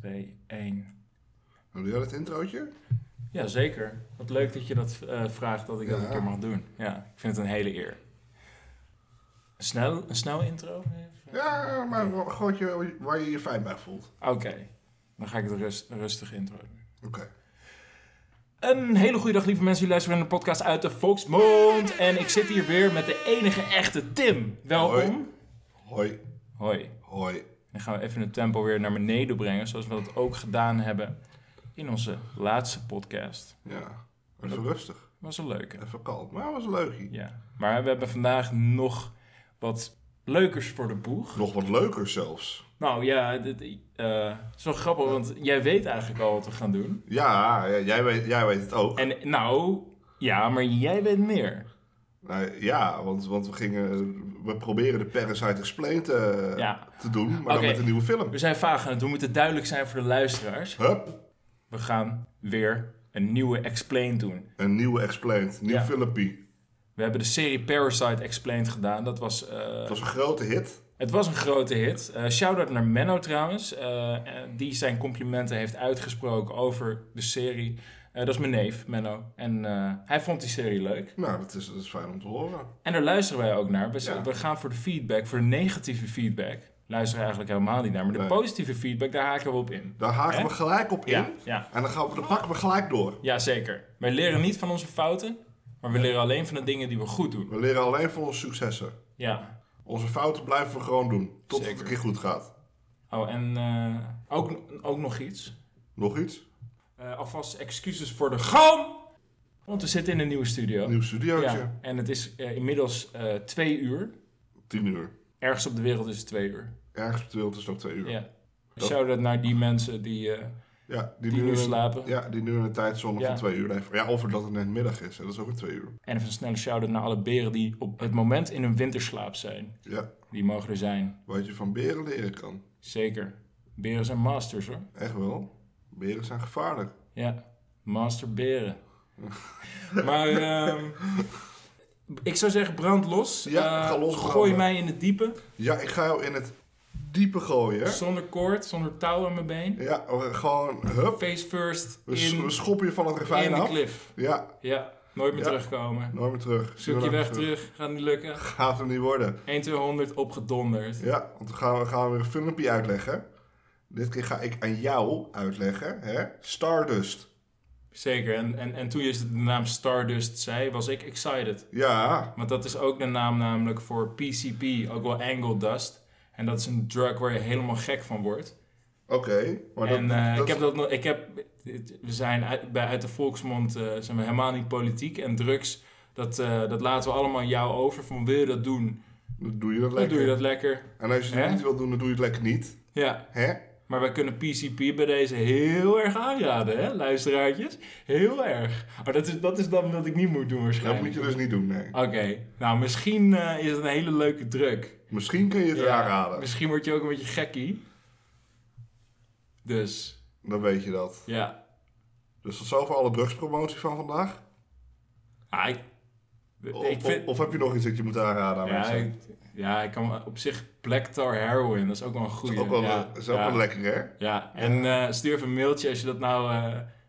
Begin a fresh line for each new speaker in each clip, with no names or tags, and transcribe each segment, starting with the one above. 2, 1.
Wil je wel het introotje?
Ja, zeker. Wat leuk dat je dat eh, vraagt, dat ik dat
Ja.
een keer mag doen. Ja, ik vind het een hele eer. Een snel, een snel intro?
Ja, maar wel een gootje waar je je fijn bij voelt.
Oké, dan ga ik het rust, rustig intro doen.
Oké.
Een hele goede dag, lieve mensen. Jullie luisteren naar de podcast uit de Volksmond. En ik zit hier weer met de enige echte Tim. Welkom.
Hoi. Hoi,
Hoi.
hoi.
Dan gaan we even het tempo weer naar beneden brengen, zoals we dat ook gedaan hebben in onze laatste podcast.
Ja, even rustig.
Was een leuke.
Even kalm. Maar dat was leuk.
Ja. Maar we hebben vandaag nog wat leukers voor de boeg.
Nog wat leuker zelfs.
Nou ja, dit eh, is wel grappig, want jij weet eigenlijk al wat we gaan doen.
Ja, ja, jij weet, jij weet het ook.
En nou, ja, maar jij weet meer.
Nou, ja, want, want we gingen... We proberen de Parasite Explained te,
Ja.
te doen, maar dan
Oké.
met een nieuwe film.
We zijn vaag aan het doen, we moeten duidelijk zijn voor de luisteraars.
Hup,
We gaan weer een nieuwe Explain doen.
een nieuwe Explained. Nieuw
Ja.
filmpie.
We hebben de serie Parasite Explained gedaan. Dat was eh,
Het was een grote hit.
Het was een grote hit. Eh Shout-out naar Menno trouwens, eh, eh, die zijn complimenten heeft uitgesproken over de serie. Eh, dat is mijn neef, Menno. En eh, hij vond die serie leuk.
Nou, dat is, dat is fijn om te horen.
En daar luisteren wij ook naar. We,
Ja.
we gaan voor de feedback, voor de negatieve feedback. Luisteren we eigenlijk helemaal niet naar. Maar de
Nee.
positieve feedback, daar haken we op in.
Daar haken
Hè?
we gelijk op in.
Ja, ja.
En dan, gaan we, dan pakken we gelijk door.
ja, zeker. Wij leren niet van onze fouten, maar we leren alleen van de dingen die we goed doen.
We leren alleen van onze successen.
Ja.
Onze fouten blijven we gewoon doen. Tot het
Zeker.
een keer goed gaat.
Oh, en eh, ook, ook nog iets.
Nog iets?
Eh, alvast excuses voor de galm. Want we zitten in een nieuwe studio.
Een nieuw studiootje.
Ja, en het is eh, inmiddels eh, twee uur.
Tien uur.
Ergens op de wereld is het twee uur.
Ergens op de wereld is het ook twee uur. Ja,
Ja. Shout-out naar die mensen die, eh,
die,
die
nu
nu
een-
slapen.
Ja, die nu een tijdzone
Ja.
van twee uur heeft. Ja, of dat het net middag is. hè, Dat is ook een twee uur.
En even een snelle shout-out naar alle beren die op het moment in hun winterslaap zijn.
Ja,
Die mogen er zijn.
wat je van beren leren kan.
Zeker. Beren zijn masters hoor.
Echt wel. Beren zijn gevaarlijk.
Ja. Master beren. maar ehm, ik zou zeggen brand los.
Ja,
Eh,
ga los
Gooi
branden.
mij in het diepe.
Ja, ik ga jou in het diepe gooien. hè.
Zonder koord, zonder touw aan mijn been.
Ja, we- gewoon hup.
Face first
We, s-
in,
we schoppen je van het
in
ravijn
de
af.
cliff.
Ja,
Ja, nooit meer
Ja.
terugkomen.
nooit meer terug.
Zoek je
Nooit
weg
meer
terug, gaat niet lukken.
Gaat hem niet worden.
1, 200 opgedonderd.
Ja, want dan gaan we, gaan we weer een filmpje uitleggen. Dit keer ga ik aan jou uitleggen, hè? Stardust.
Zeker, en, en, en toen je de naam Stardust zei, was ik excited.
Ja,
Want dat is ook de naam namelijk voor PCP, ook wel Angle Dust. En dat is een drug waar je helemaal gek van wordt.
oké. Maar dat,
en eh,
dat-
ik heb dat nog, ik heb, we zijn uit, bij, uit de volksmond eh, zijn we helemaal niet politiek. En drugs, dat, eh, dat laten we allemaal aan jou over. Van wil je dat doen,
dan doe je dat
dan
lekker.
doe je dat lekker.
En als je het
Hè?
niet wil doen, dan doe je het lekker niet.
Ja,
Hè?
Maar wij kunnen PCP bij deze heel erg aanraden, hè, luisteraartjes? Heel erg. Maar dat is, dat is dan wat ik niet moet doen
Dat
waarschijnlijk.
moet je dus niet doen, nee.
Oké, nou misschien eh, is het een hele leuke druk.
Misschien kun je het
Ja,
aanraden.
Misschien word je ook een beetje gekkie. Dus,
Dan weet je dat.
ja.
Dus tot zover alle drugspromotie van vandaag.
Ah, ik, ik
Of, of-
vind...
of heb je nog iets dat je moet aanraden aan
Ja
mensen?
ik, ja, ik kan op zich Black Tar Heroin, dat is ook wel een
Dat
goede.
is ook wel,
ja,
dat is ook
ja.
wel lekker, hè?
Ja, en eh, stuur even een mailtje als je dat nou, eh,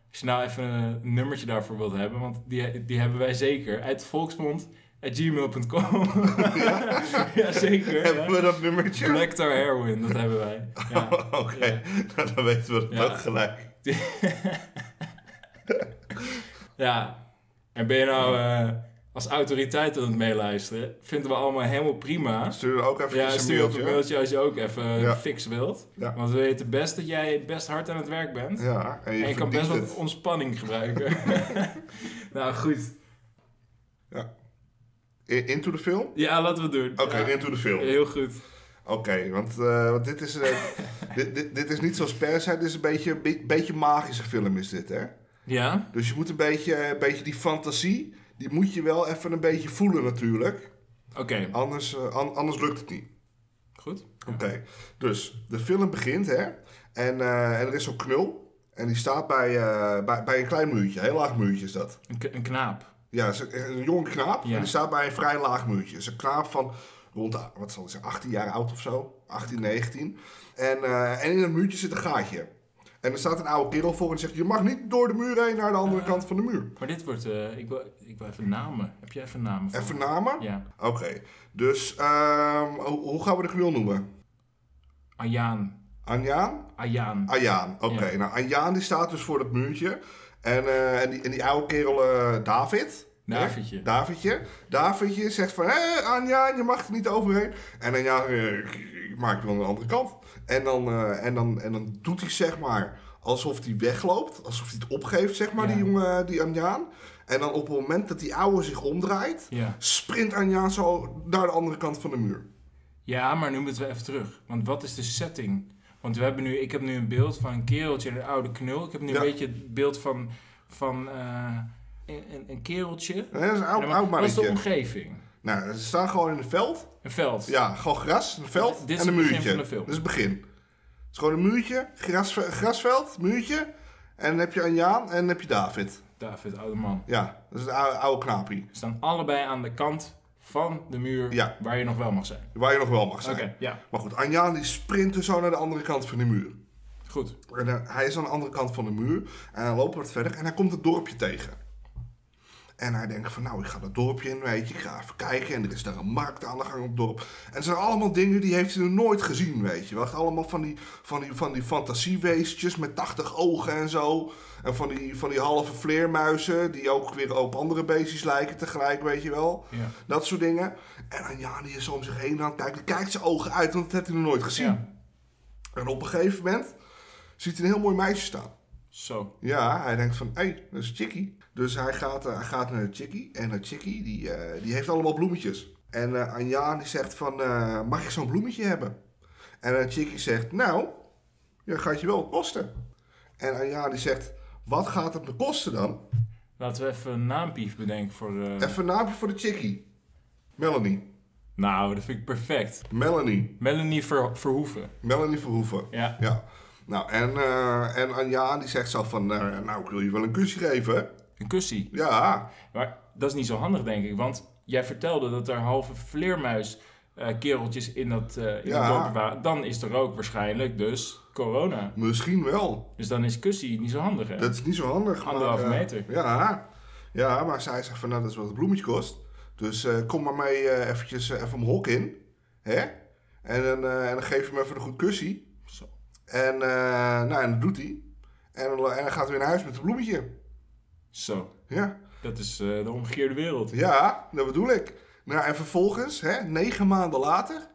als je nou even een nummertje daarvoor wilt hebben. Want die, die hebben wij zeker. Uit volksmond, at gmail.com. ja. zeker.
Hebben
Ja.
we dat nummertje?
Black Tar Heroin, dat hebben wij. Ja.
Oké, nou, dan weten we dat
Ja.
ook gelijk.
ja. En ben je nou eh, als autoriteit aan het meeluisteren? Vinden we allemaal helemaal prima.
Stuur er ook even
Ja,
een
stuur op
mailtje.
een mailtje als je ook even
Ja.
fix wilt.
Ja.
Want we weten best dat jij best hard aan het werk bent.
Ja, en je,
En je kan best
verdient
wat
het.
ontspanning gebruiken. nou goed.
I- Into the film?
Ja, laten we het doen.
Oké,
Ja.
into the film. Oké,
Heel goed.
want, eh, want dit, is, eh, dit, dit, dit is niet zoals Parasite, dit is een beetje, een be- beetje magische film is dit, hè?
Ja?
Dus je moet een beetje, een beetje die fantasie, die moet je wel even een beetje voelen natuurlijk.
Oké,
Anders, eh, an- anders lukt het niet.
goed.
Oké, dus de film begint, hè? En, eh, en er is zo'n knul. En die staat bij, eh, bij, bij een klein muurtje, een heel laag muurtje is dat.
Een, k- een knaap.
Ja, het is een, een jonge knaap.
Ja.
En die staat bij een vrij laag muurtje. Het is een knaap van rond de, wat zal ik zeggen, 18 jaar oud of zo. 18, 19. En, eh, en in dat muurtje zit een gaatje. En er staat een oude kerel voor en zegt: Je mag niet door de muur heen naar de andere
Ah.
kant van de muur.
Maar dit wordt... eh, ik, wil, ik wil even namen. Heb jij even namen? voor
Even
me?
namen?
Ja.
Oké, dus ehm, hoe, hoe gaan we de knul noemen?
Ayaan.
Anjaan?
Ayaan.
Anjaan, oké. Nou, Anjaan die staat dus voor dat muurtje. En, eh, en, die, en die oude kerel eh, David.
Davidje.
hè? Davidje. Davidje zegt van, hé Anjaan, je mag er niet overheen. En Anjaan, eh, ik, ik maak je wel aan de andere kant. En dan, eh, en dan, en dan doet hij zeg maar alsof hij wegloopt. Alsof hij het opgeeft, zeg maar,
Ja.
die jongen, eh, die Anjaan. En dan op het moment dat die oude zich omdraait,
Ja.
sprint Anjaan zo naar de andere kant van de muur.
Ja, maar nu moeten we even terug. Want wat is de setting? Want we hebben nu, ik heb nu een beeld van een kereltje en een oude knul. Ik heb nu
Ja.
een beetje het beeld van, van eh, een, een- een kereltje.
Dat is een
En
oud,
dan-
oud
Wat is de
mannetje.
omgeving?
Nou, ze staan gewoon in het veld.
Een veld.
Ja, gewoon gras, een veld
Dit is
en
het
een muurtje.
begin van de film.
Dit is het begin. Het is gewoon een muurtje, gras, grasveld, muurtje. En dan heb je Anjaan en dan heb je David.
David, oude man.
Ja, dat is een oude, oude knaapie.
We staan allebei aan de kant van de muur
Ja.
waar je nog wel mag zijn.
Waar je nog wel mag
Oké,
zijn.
ja.
Maar goed, Anjaan die sprint dus zo naar de andere kant van de muur.
Goed.
En eh, hij is aan de andere kant van de muur. En hij loopt wat verder en hij komt het dorpje tegen. En hij denkt van, nou, ik ga dat dorpje in, weet je. Ik ga even kijken. En er is daar een markt aan de gang op het dorp. En het zijn allemaal dingen die heeft hij nog nooit gezien, weet je. wel. Echt allemaal van die, van die, van die fantasieweestjes met 80 ogen en zo. En van die, van die halve vleermuizen die ook weer op andere beestjes lijken tegelijk, weet je wel.
Ja.
Dat soort dingen. En dan, ja, die is om zich heen aan het kijken. Die kijkt zijn ogen uit, want dat heeft hij nog nooit gezien.
Ja.
En op een gegeven moment ziet hij een heel mooi meisje staan.
Zo.
Ja, hij denkt van, hé, hey, dat is Chicky. Dus hij gaat, eh, hij gaat naar Chicky. En eh, Chicky, die, eh, die heeft allemaal bloemetjes. En eh Anja, die zegt van, eh, mag ik zo'n bloemetje hebben? En eh, Chicky zegt, nou, ja, gaat je wel wat kosten. En Anja, die zegt, wat gaat het me kosten dan?
Laten we even een naampief bedenken voor... eh,
Even een naampje voor de Chicky. Melanie.
Nou, dat vind ik perfect.
Melanie.
Melanie Ver- Verhoeven.
Melanie Verhoeven.
Ja.
Ja. Nou, en, eh, en Anja, die zegt zo van, eh, nou, ik wil je wel een kusje geven, hè?
Een kussie.
Ja,
Maar dat is niet zo handig, denk ik. Want jij vertelde dat er halve vleermuis eh, kereltjes in dat, eh, in
Ja.
dat dorp waren. Dan is er ook waarschijnlijk dus corona.
misschien wel.
Dus dan is kussie niet zo handig, hè?
Dat is niet zo handig. maar,
Anderhalve
eh,
meter.
Ja, ja, maar zij zegt van nou, dat is wat het bloemetje kost. Dus eh, kom maar mee eh, eventjes eh, even mijn hok in. Hè? En, dan, eh, en dan geef je hem even een goed kussie.
Zo.
En, eh, nou, en dat doet hij. En, dan- en dan gaat hij weer naar huis met een bloemetje.
Zo.
Ja,
Dat is eh, de omgekeerde wereld.
ja dat bedoel ik. Nou, en vervolgens, hè, negen maanden later...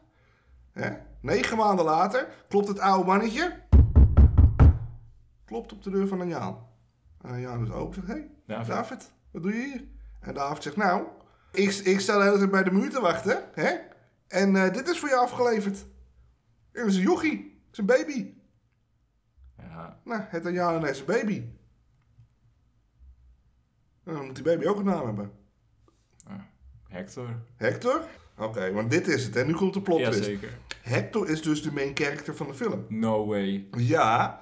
Hè, negen maanden later klopt het oude mannetje... Klopt op de deur van een Jaan. En Jaan doet open zegt... Hey,
David.
David, wat doe je hier? En David zegt, nou, ik, ik sta de hele tijd bij de muur te wachten, hè? En eh, dit is voor je afgeleverd. Dit is een jochie, het is een baby.
Ja.
Nou, het een jaar en is een baby. En dan moet die baby ook een naam hebben.
Hector.
Hector? Oké, want dit is het, en nu komt de plot twist.
Jazeker.
Hector is dus de main character van de film.
No way.
Ja,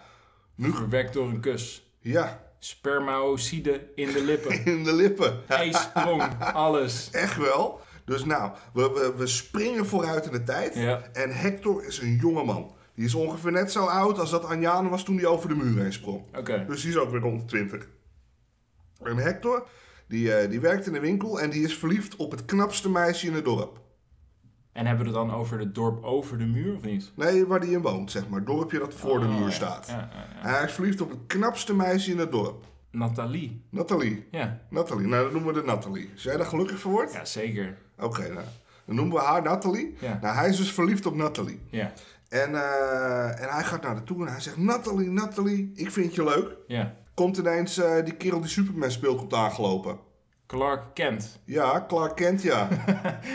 Nu-
Verwekt door een kus.
ja,
Spermaocide in de lippen.
in de lippen.
Ijsprong. Alles.
Echt wel. Dus nou, we, we, we springen vooruit in de tijd.
Ja.
En Hector is een jongeman. Die is ongeveer net zo oud als dat Anjane was toen hij over de muur heen sprong.
Oké.
Dus die is ook weer rond de 20. En Hector, die, eh, die werkt in de winkel en die is verliefd op het knapste meisje in het dorp.
En hebben we het dan over het dorp over de muur, of niet?
Nee, waar die in woont, zeg maar. Het dorpje dat voor de
Oh,
muur
ja.
staat.
Ja, ja, ja.
Hij is verliefd op het knapste meisje in het dorp.
Nathalie.
Nathalie.
Ja.
Nathalie, nou dat noemen we de Nathalie. Als jij daar gelukkig voor wordt?
Ja, zeker.
Oké, nou. Dan noemen we haar Nathalie.
Ja.
Nou, hij is dus verliefd op Nathalie.
Ja.
En, eh, en hij gaat naar de toe en hij zegt: Nathalie, Nathalie, ik vind je leuk.
Ja.
Komt ineens eh, die kerel die Superman speelt, komt aangelopen.
Clark Kent.
Ja, Clark Kent, ja.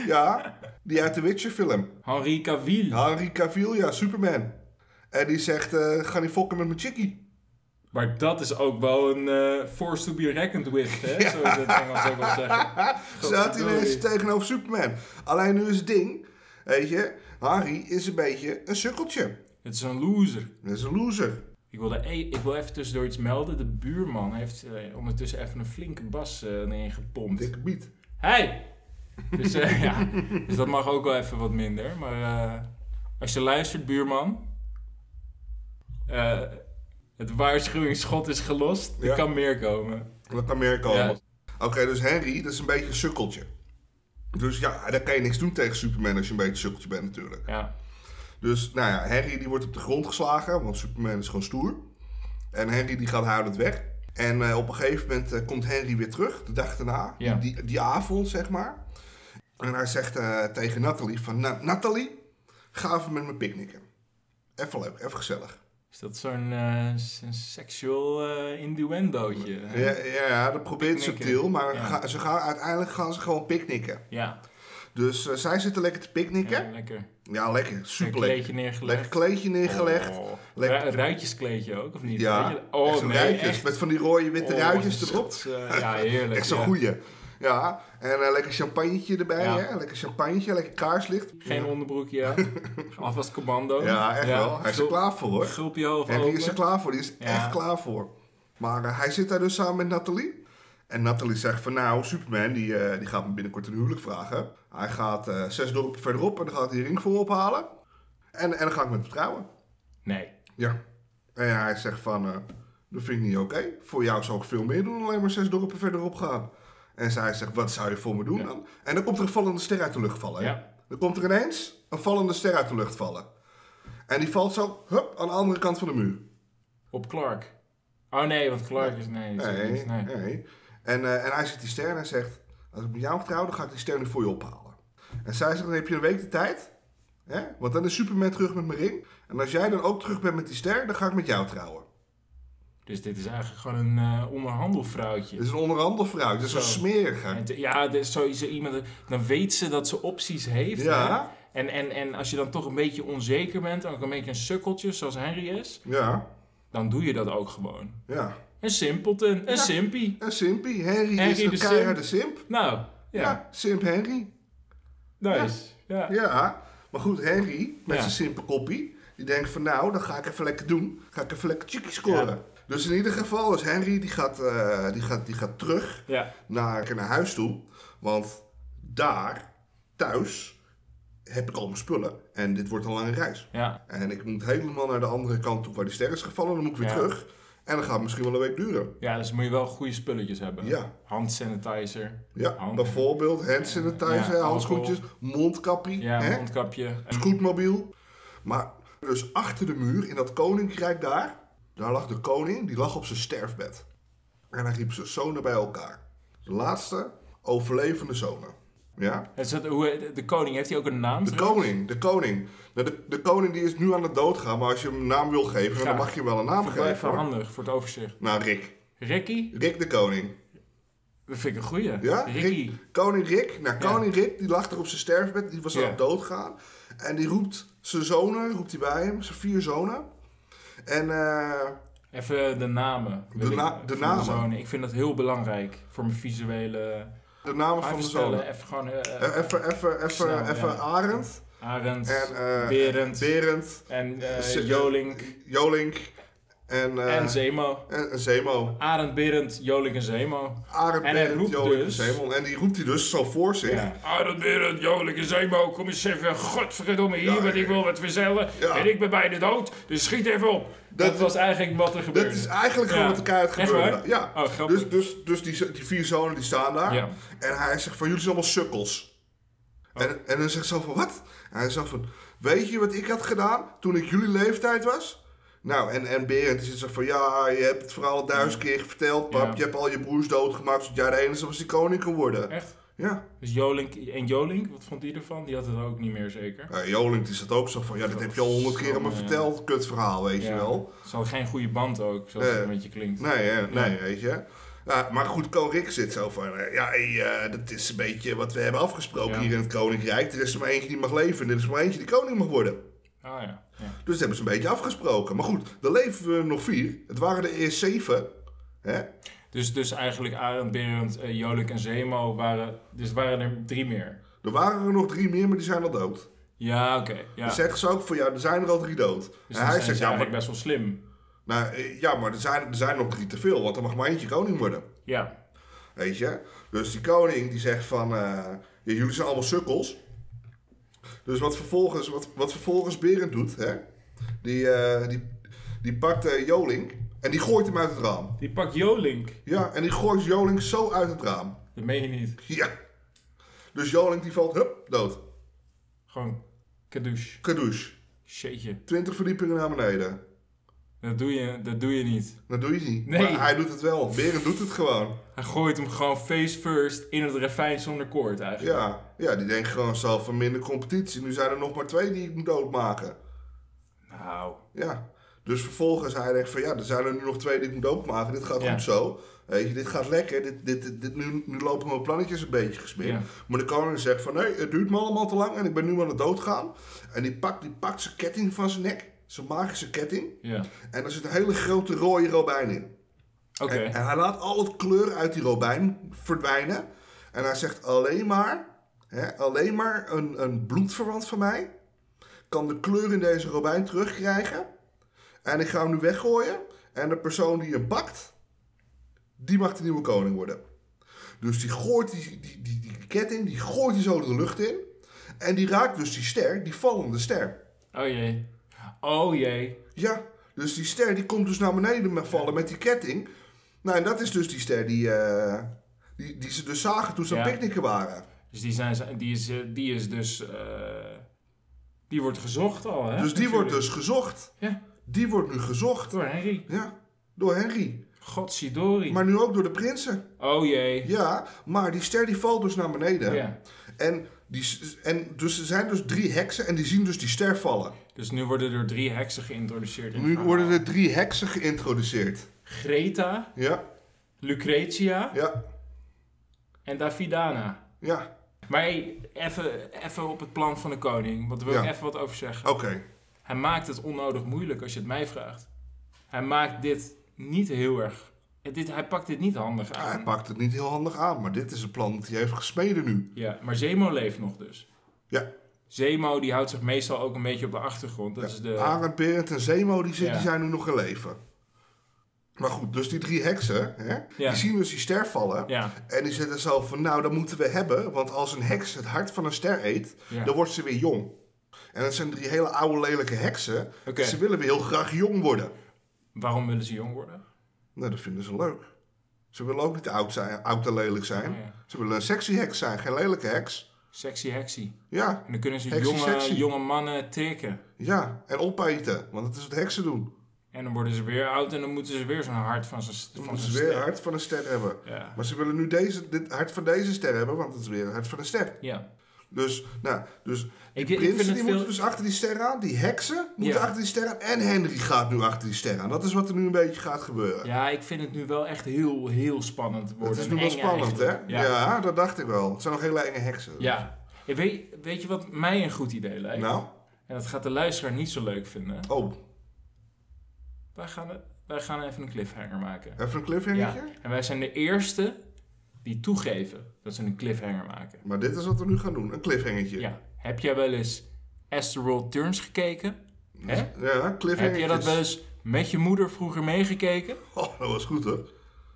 ja, die uit de Witcher-film.
Henri Cavill.
Henry Cavill, ja, Superman. En die zegt: eh, Ga niet fokken met mijn chickie.
Maar dat is ook wel een eh, force to be reckoned with, hè? Zoals het Engels ook wel zeggen.
Staat hij
Godverdorie.
ineens tegenover Superman. Alleen nu is het ding, weet je, Harry is een beetje een sukkeltje.
Het is een loser.
Dat is een loser.
Ik, wilde e- ik wil even tussendoor iets melden. De buurman heeft eh, ondertussen even een flinke bas eh erin gepompt.
Dikke biet.
Hey! Dus, eh, ja. dus dat mag ook wel even wat minder. Maar eh, als je luistert, buurman. eh, Het waarschuwingsschot is gelost.
Ja.
Er kan meer komen.
Er kan meer komen.
Ja.
Oké, dus Henry, dat is een beetje een sukkeltje. Dus ja, daar kan je niks doen tegen Superman als je een beetje een sukkeltje bent natuurlijk.
Ja.
Dus nou ja, Harry die wordt op de grond geslagen, want Superman is gewoon stoer. En Harry die gaat huilend weg. En eh, op een gegeven moment eh, komt Harry weer terug, de dag daarna,
Ja.
die, die avond zeg maar. En hij zegt eh, tegen Nathalie van, "Na- Nathalie, ga even met me picknicken. Even leuk, even gezellig.
Is dat zo'n eh, s- een seksueel eh, innuendootje? hè?
Ja, ja, ja, dat probeert
Picknicken.
subtiel, maar
Ja.
ga- ze gaan, uiteindelijk gaan ze gewoon picknicken.
Ja,
Dus eh, zij zitten lekker te picknicken.
ja, lekker.
Ja, lekker.
Een
Super lekker.
kleedje neergelegd.
Lekker kleedje neergelegd.
Oh.
Lekker-
Ru- ruitjeskleedje ook, of niet?
Ja,
Weet je- Oh,
echt zo'n
nee,
ruitjes.
echt.
Met van die rode witte
Oh,
ruitjes
wat
erop.
een schat, eh, ja, heerlijk.
Echt zo'n
ja.
goeie. Ja, en eh, lekker champagnetje erbij.
Ja.
Hè? Lekker champagnetje, lekker kaarslicht.
Geen onderbroekje, ja. Alvast commando.
Ja, echt wel. Hij is er
gul-
klaar voor hoor.
Gulpje hoofd
Henry is er
open.
klaar voor. Die is
Ja.
echt klaar voor. Maar eh, hij zit daar dus samen met Nathalie. En Nathalie zegt van nou, Superman die, eh, die gaat me binnenkort een huwelijk vragen. Hij gaat eh, zes dorpen verderop en dan gaat hij een ring voor ophalen. En, en dan ga ik met hem trouwen.
Nee.
Ja. En hij zegt van, eh, dat vind ik niet oké. Voor jou zou ik veel meer doen dan alleen maar zes dorpen verderop gaan. En zij zegt, wat zou je voor me doen
Ja.
dan? En dan komt er een vallende ster uit de lucht vallen. hè?
Ja.
Dan komt er ineens een vallende ster uit de lucht vallen. En die valt zo, hup, aan de andere kant van de muur.
Op Clark. Oh nee, want Clark is... Nee, die zegt
Nee,
niks, nee.
nee. En, eh, en hij ziet die ster en hij zegt, als ik met jou trouw, dan ga ik die ster nu voor je ophalen. En zij zegt, dan heb je een week de tijd. Hè? Want dan is Superman terug met mijn ring. En als jij dan ook terug bent met die ster, dan ga ik met jou trouwen.
Dus dit is eigenlijk gewoon een eh onderhandelfruitje.
Dit is een onderhandelfruit. Dit is een
Zo.
smerige.
En te- Ja, dus sowieso iemand, dan weet ze dat ze opties heeft.
Ja.
hè. En, en, en als je dan toch een beetje onzeker bent, ook een beetje een sukkeltje zoals Henry is,
Ja,
dan doe je dat ook gewoon.
ja.
Een simpelton, een
Ja.
simpie.
En Simpie. Henry,
Henry
is een
de simp.
keiharde simp.
Nou,
Ja.
ja,
simp Henry.
nice. Ja.
Ja. Maar goed, Henry, met
Ja.
zijn simpe koppie, die denkt van nou, dan ga ik even lekker doen. Ga ik even lekker chickie scoren. Dus in ieder geval, dus Henry die gaat, eh, die gaat, die gaat terug
Ja.
naar, naar huis toe. Want daar, thuis, heb ik al mijn spullen. En dit wordt een lange reis.
ja,
En ik moet helemaal naar de andere kant toe waar die ster is gevallen. Dan moet ik weer
Ja.
terug. En dan gaat het misschien wel een week duren.
ja, dus moet je wel goede spulletjes hebben.
Ja.
Hand sanitizer.
Ja,
Hand-
bijvoorbeeld hand sanitizer,
Oh, Ja,
handschoentjes, mondkapje,
Ja,
hè?
mondkapje.
scootmobiel. Maar dus achter de muur in dat koninkrijk daar, daar lag de koning, die lag op zijn sterfbed. En hij riep zijn zonen bij elkaar. De laatste overlevende zonen. Ja?
En is dat, hoe, de koning, heeft hij ook een naam?
De koning, de koning. Nou, De, de koning die is nu aan het doodgaan, maar als je hem een naam wil geven, dan
Graag.
mag je hem wel een naam
Vond ik wel
geven.
even
hoor.
handig voor het overzicht.
Nou, Rick.
Ricky?
Rick de koning.
Dat vind ik een goeie.
Ja,
Ricky.
Rick, koning Rick. Nou, koning Rick, die lag er op zijn sterfbed. Die was aan
Ja.
het doodgaan. En die roept zijn zonen, roept hij bij hem. Zijn vier zonen. En eh,
Even de namen. wil
De
ik-
na- de
van
namen.
zonen. Ik vind dat heel belangrijk voor mijn visuele...
de namen van
Even
de
stellen,
zonen.
even gewoon... eh, eh,
Eh, Even, even,
Snel,
even,
ja.
even Arend.
Arend,
En eh,
Berend,
Berend.
en eh,
Z-
Jolink,
Jolink. En, eh,
en Zemo.
en, en Zemo.
Arend, Berend, Jolink en Zemo.
Arend,
En hij
Berend,
roept
Jolink
dus-
en Zemo. En die roept hij dus zo voor zich.
Ja. Arend, Berend, Jolink en Zemo, kom eens even, godverdomme hier,
Ja,
want ik wil wat verzellen.
Ja.
En ik ben bijna dood, dus schiet even op. Dat,
Dat-
was eigenlijk wat er gebeurde.
Dat is eigenlijk gewoon
Ja.
wat er keihard
Echt
gebeurde.
waar?
Ja.
Oh, grappig.
dus dus, dus die, z- die vier zonen die staan daar.
Ja.
En hij zegt van, jullie zijn allemaal sukkels.
Oh.
En, en dan zegt ze van, wat? En hij zegt van, weet je wat ik had gedaan toen ik jullie leeftijd was? Nou, en, en Berend die zegt van, ja, je hebt het verhaal duizend keer verteld, pap.
Ja.
Je hebt al je broers doodgemaakt, zodat jij de enige was die koning kon worden.
Echt?
Ja.
Dus Jolink, en Jolink, wat vond die ervan? Die had het ook niet meer zeker.
Ja, Jolink die zat ook zo van, ja, dat heb je al honderd keer aan me
Ja.
verteld, kut verhaal, weet je wel.
Ze hadden geen goede band ook, zoals
Nee.
het met je klinkt.
Nee, hè, nee, weet je. Ja, maar goed, Ko Rick zit zo van... eh, Ja, hey, eh, dat is een beetje wat we hebben afgesproken
Ja.
hier in het Koninkrijk. Er is er maar eentje die mag leven en er is er maar eentje die koning mag worden.
Ah ja. ja.
Dus dat hebben ze een beetje afgesproken. Maar goed, er leven we nog vier. Het waren er eerst zeven. Hè?
Dus, dus eigenlijk Arend, Berend, eh, Jolik en Zemo waren... Dus waren er drie meer.
Er waren er nog drie meer, maar die zijn al dood.
Ja, oké. Ja.
Dan zeggen ze ook van, ja, er zijn er al drie dood.
Dus hij
en Dus hij
zijn
zegt,
ze
ja,
eigenlijk
maar,
best wel slim.
nou, eh, ja, maar er zijn, er zijn nog drie te veel, want er mag maar eentje koning worden.
Ja.
Weet je? Dus die koning die zegt van, eh, ja, jullie zijn allemaal sukkels. Dus wat vervolgens, wat, wat vervolgens Berend doet, hè? Die, eh, die, die pakt eh, Jolink En die gooit hem uit het raam.
Die pakt Jolink.
Ja, en die gooit Jolink zo uit het raam.
Dat meen je niet.
Ja. Dus Jolink die valt, hup, dood.
Gewoon kadouche.
Kadouche.
Shitje.
20 verdiepingen naar beneden.
Dat doe je, dat doe je niet.
Dat doe je niet.
Nee.
Maar hij doet het wel. Berend doet het gewoon.
Hij gooit hem gewoon face first in het refijn zonder koord eigenlijk.
Ja, ja die denkt gewoon zelf van minder competitie. Nu zijn er nog maar twee die ik moet doodmaken.
Nou.
Ja. Dus vervolgens hij denkt van ja, er zijn er nu nog twee die ik moet doodmaken. Dit gaat
Ja.
goed zo. Weet je, dit gaat lekker. Dit, dit, dit, dit- nu, nu lopen mijn plannetjes een beetje gesmeerd.
Ja.
Maar de koning zegt van nee, het duurt me allemaal te lang en ik ben nu aan het doodgaan. En die pakt, die pakt zijn ketting van zijn nek. Zijn magische ketting.
Ja.
En er zit een hele grote rode robijn in.
Oké.
En, en hij laat al het kleur uit die robijn verdwijnen. En hij zegt alleen maar, hè, alleen maar een, een bloedverwant van mij kan de kleur in deze robijn terugkrijgen. En ik ga hem nu weggooien. En de persoon die hem pakt, die mag de nieuwe koning worden. Dus die gooit die, die, die, die ketting, die gooit die zo de lucht in. En die raakt dus die ster, die vallende ster.
Oh jee. Oh jee.
Ja, dus die ster die komt dus naar beneden met vallen met die ketting. Nou, en dat is dus die ster die, eh, die, die ze dus zagen toen ze aan
Ja.
het picknicken waren.
Dus die, zijn, die, is, eh, die is dus... eh, die wordt gezocht al, hè?
dus die wordt dus gezocht.
Ja.
Die wordt nu gezocht.
Door Henry.
Ja, door Henry.
Godsidori.
Maar nu ook door de prinsen.
Oh jee.
Ja, maar die ster die valt dus naar beneden.
Ja.
En, die, s- en dus er zijn dus drie heksen en die zien dus die ster vallen.
Dus nu worden er drie heksen geïntroduceerd. in het
Nu
verhaal.
worden er drie heksen geïntroduceerd.
Greta,
Ja,
Lucretia
ja,
en Davidana.
ja.
Maar hey, even, even op het plan van de koning, want daar wil
Ja.
ik even wat over zeggen.
Oké.
Hij maakt het onnodig moeilijk als je het mij vraagt. Hij maakt dit niet heel erg. Dit, hij pakt dit niet handig
Ja,
aan.
Hij pakt het niet heel handig aan, maar dit is een plan dat hij heeft gesmeden nu.
Ja, maar Zemo leeft nog dus.
Ja.
Zemo die houdt zich meestal ook een beetje op de achtergrond. Dat is de.
Arend, Berend en Zemo die, zit-
Ja.
die zijn nu nog in leven. Maar goed, dus die drie heksen, hè,
Ja.
die zien dus die ster vallen.
Ja,
En die zitten zo van, nou, dat moeten we hebben. Want als een heks het hart van een ster eet,
ja.
dan wordt ze weer jong. En dat zijn drie hele oude, lelijke heksen.
Oké.
Dus Ze willen weer heel graag jong worden.
Waarom willen ze jong worden?
Nou, dat vinden ze leuk. Ze willen ook niet oud, zijn, oud en lelijk zijn.
Oh, ja.
Ze willen een sexy heks zijn, geen lelijke heks.
Sexy hexy.
Ja,
En dan kunnen ze
Hexy
jonge,
sexy.
jonge mannen tikken.
ja. En opeten, want dat is wat heksen doen.
En dan worden ze weer oud en dan moeten ze weer zo'n hart van zijn.
Dan
Van
moeten
zijn
ze weer
ster.
het hart van een ster hebben.
Ja.
Maar ze willen nu deze, dit hart van deze ster hebben, want het is weer het hart van een ster.
ja.
Dus, nou, dus die
Ik, ik vind
prinsen
het
die
veel.
moeten dus achter die ster aan, die heksen moeten
Ja.
achter die ster aan en Henry gaat nu achter die ster aan. Dat is wat er nu een beetje gaat gebeuren.
Ja, ik vind het nu wel echt heel, heel spannend worden.
het is nu
En
wel
eng
spannend, hè?
eigenlijk.
Ja.
Ja. ja.
dat dacht ik wel. Het zijn nog hele enge heksen.
Ik Weet, weet je wat mij een goed idee lijkt?
Nou,
En dat gaat de luisteraar niet zo leuk vinden.
oh,
Wij gaan, wij gaan even een cliffhanger maken.
even een
Ja.
cliffhangertje?
En wij zijn de eerste die toegeven dat ze een cliffhanger maken.
Maar dit is wat we nu gaan doen, een cliffhangertje.
Ja. Heb jij wel eens Asteroid Turns gekeken? Hè?
Ja,
Heb jij dat
cliffhangertjes.
wel eens met je moeder vroeger meegekeken?
Oh, dat was goed, hoor.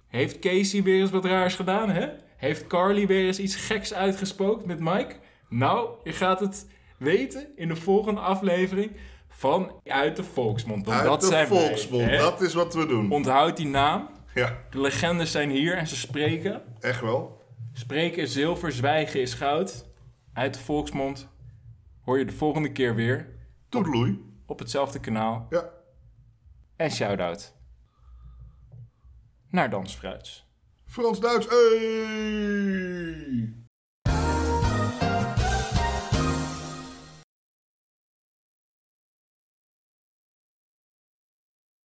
Heeft Casey weer eens wat raars gedaan, hè? Heeft Carly weer eens iets geks uitgespookt met Mike? Nou, je gaat het weten in de volgende aflevering van Uit de Volksmond. Want
Uit
dat
de
zijn wij,
volksmond,
hè?
dat is wat we doen.
Onthoud die naam.
Ja,
De legendes zijn hier en ze spreken.
echt wel.
Spreken is zilver, zwijgen is goud. Uit de Volksmond hoor je de volgende keer weer
Toedeloei.
op hetzelfde kanaal.
Ja.
En shout-out naar Dansfruits.
Frans-Duits, hey!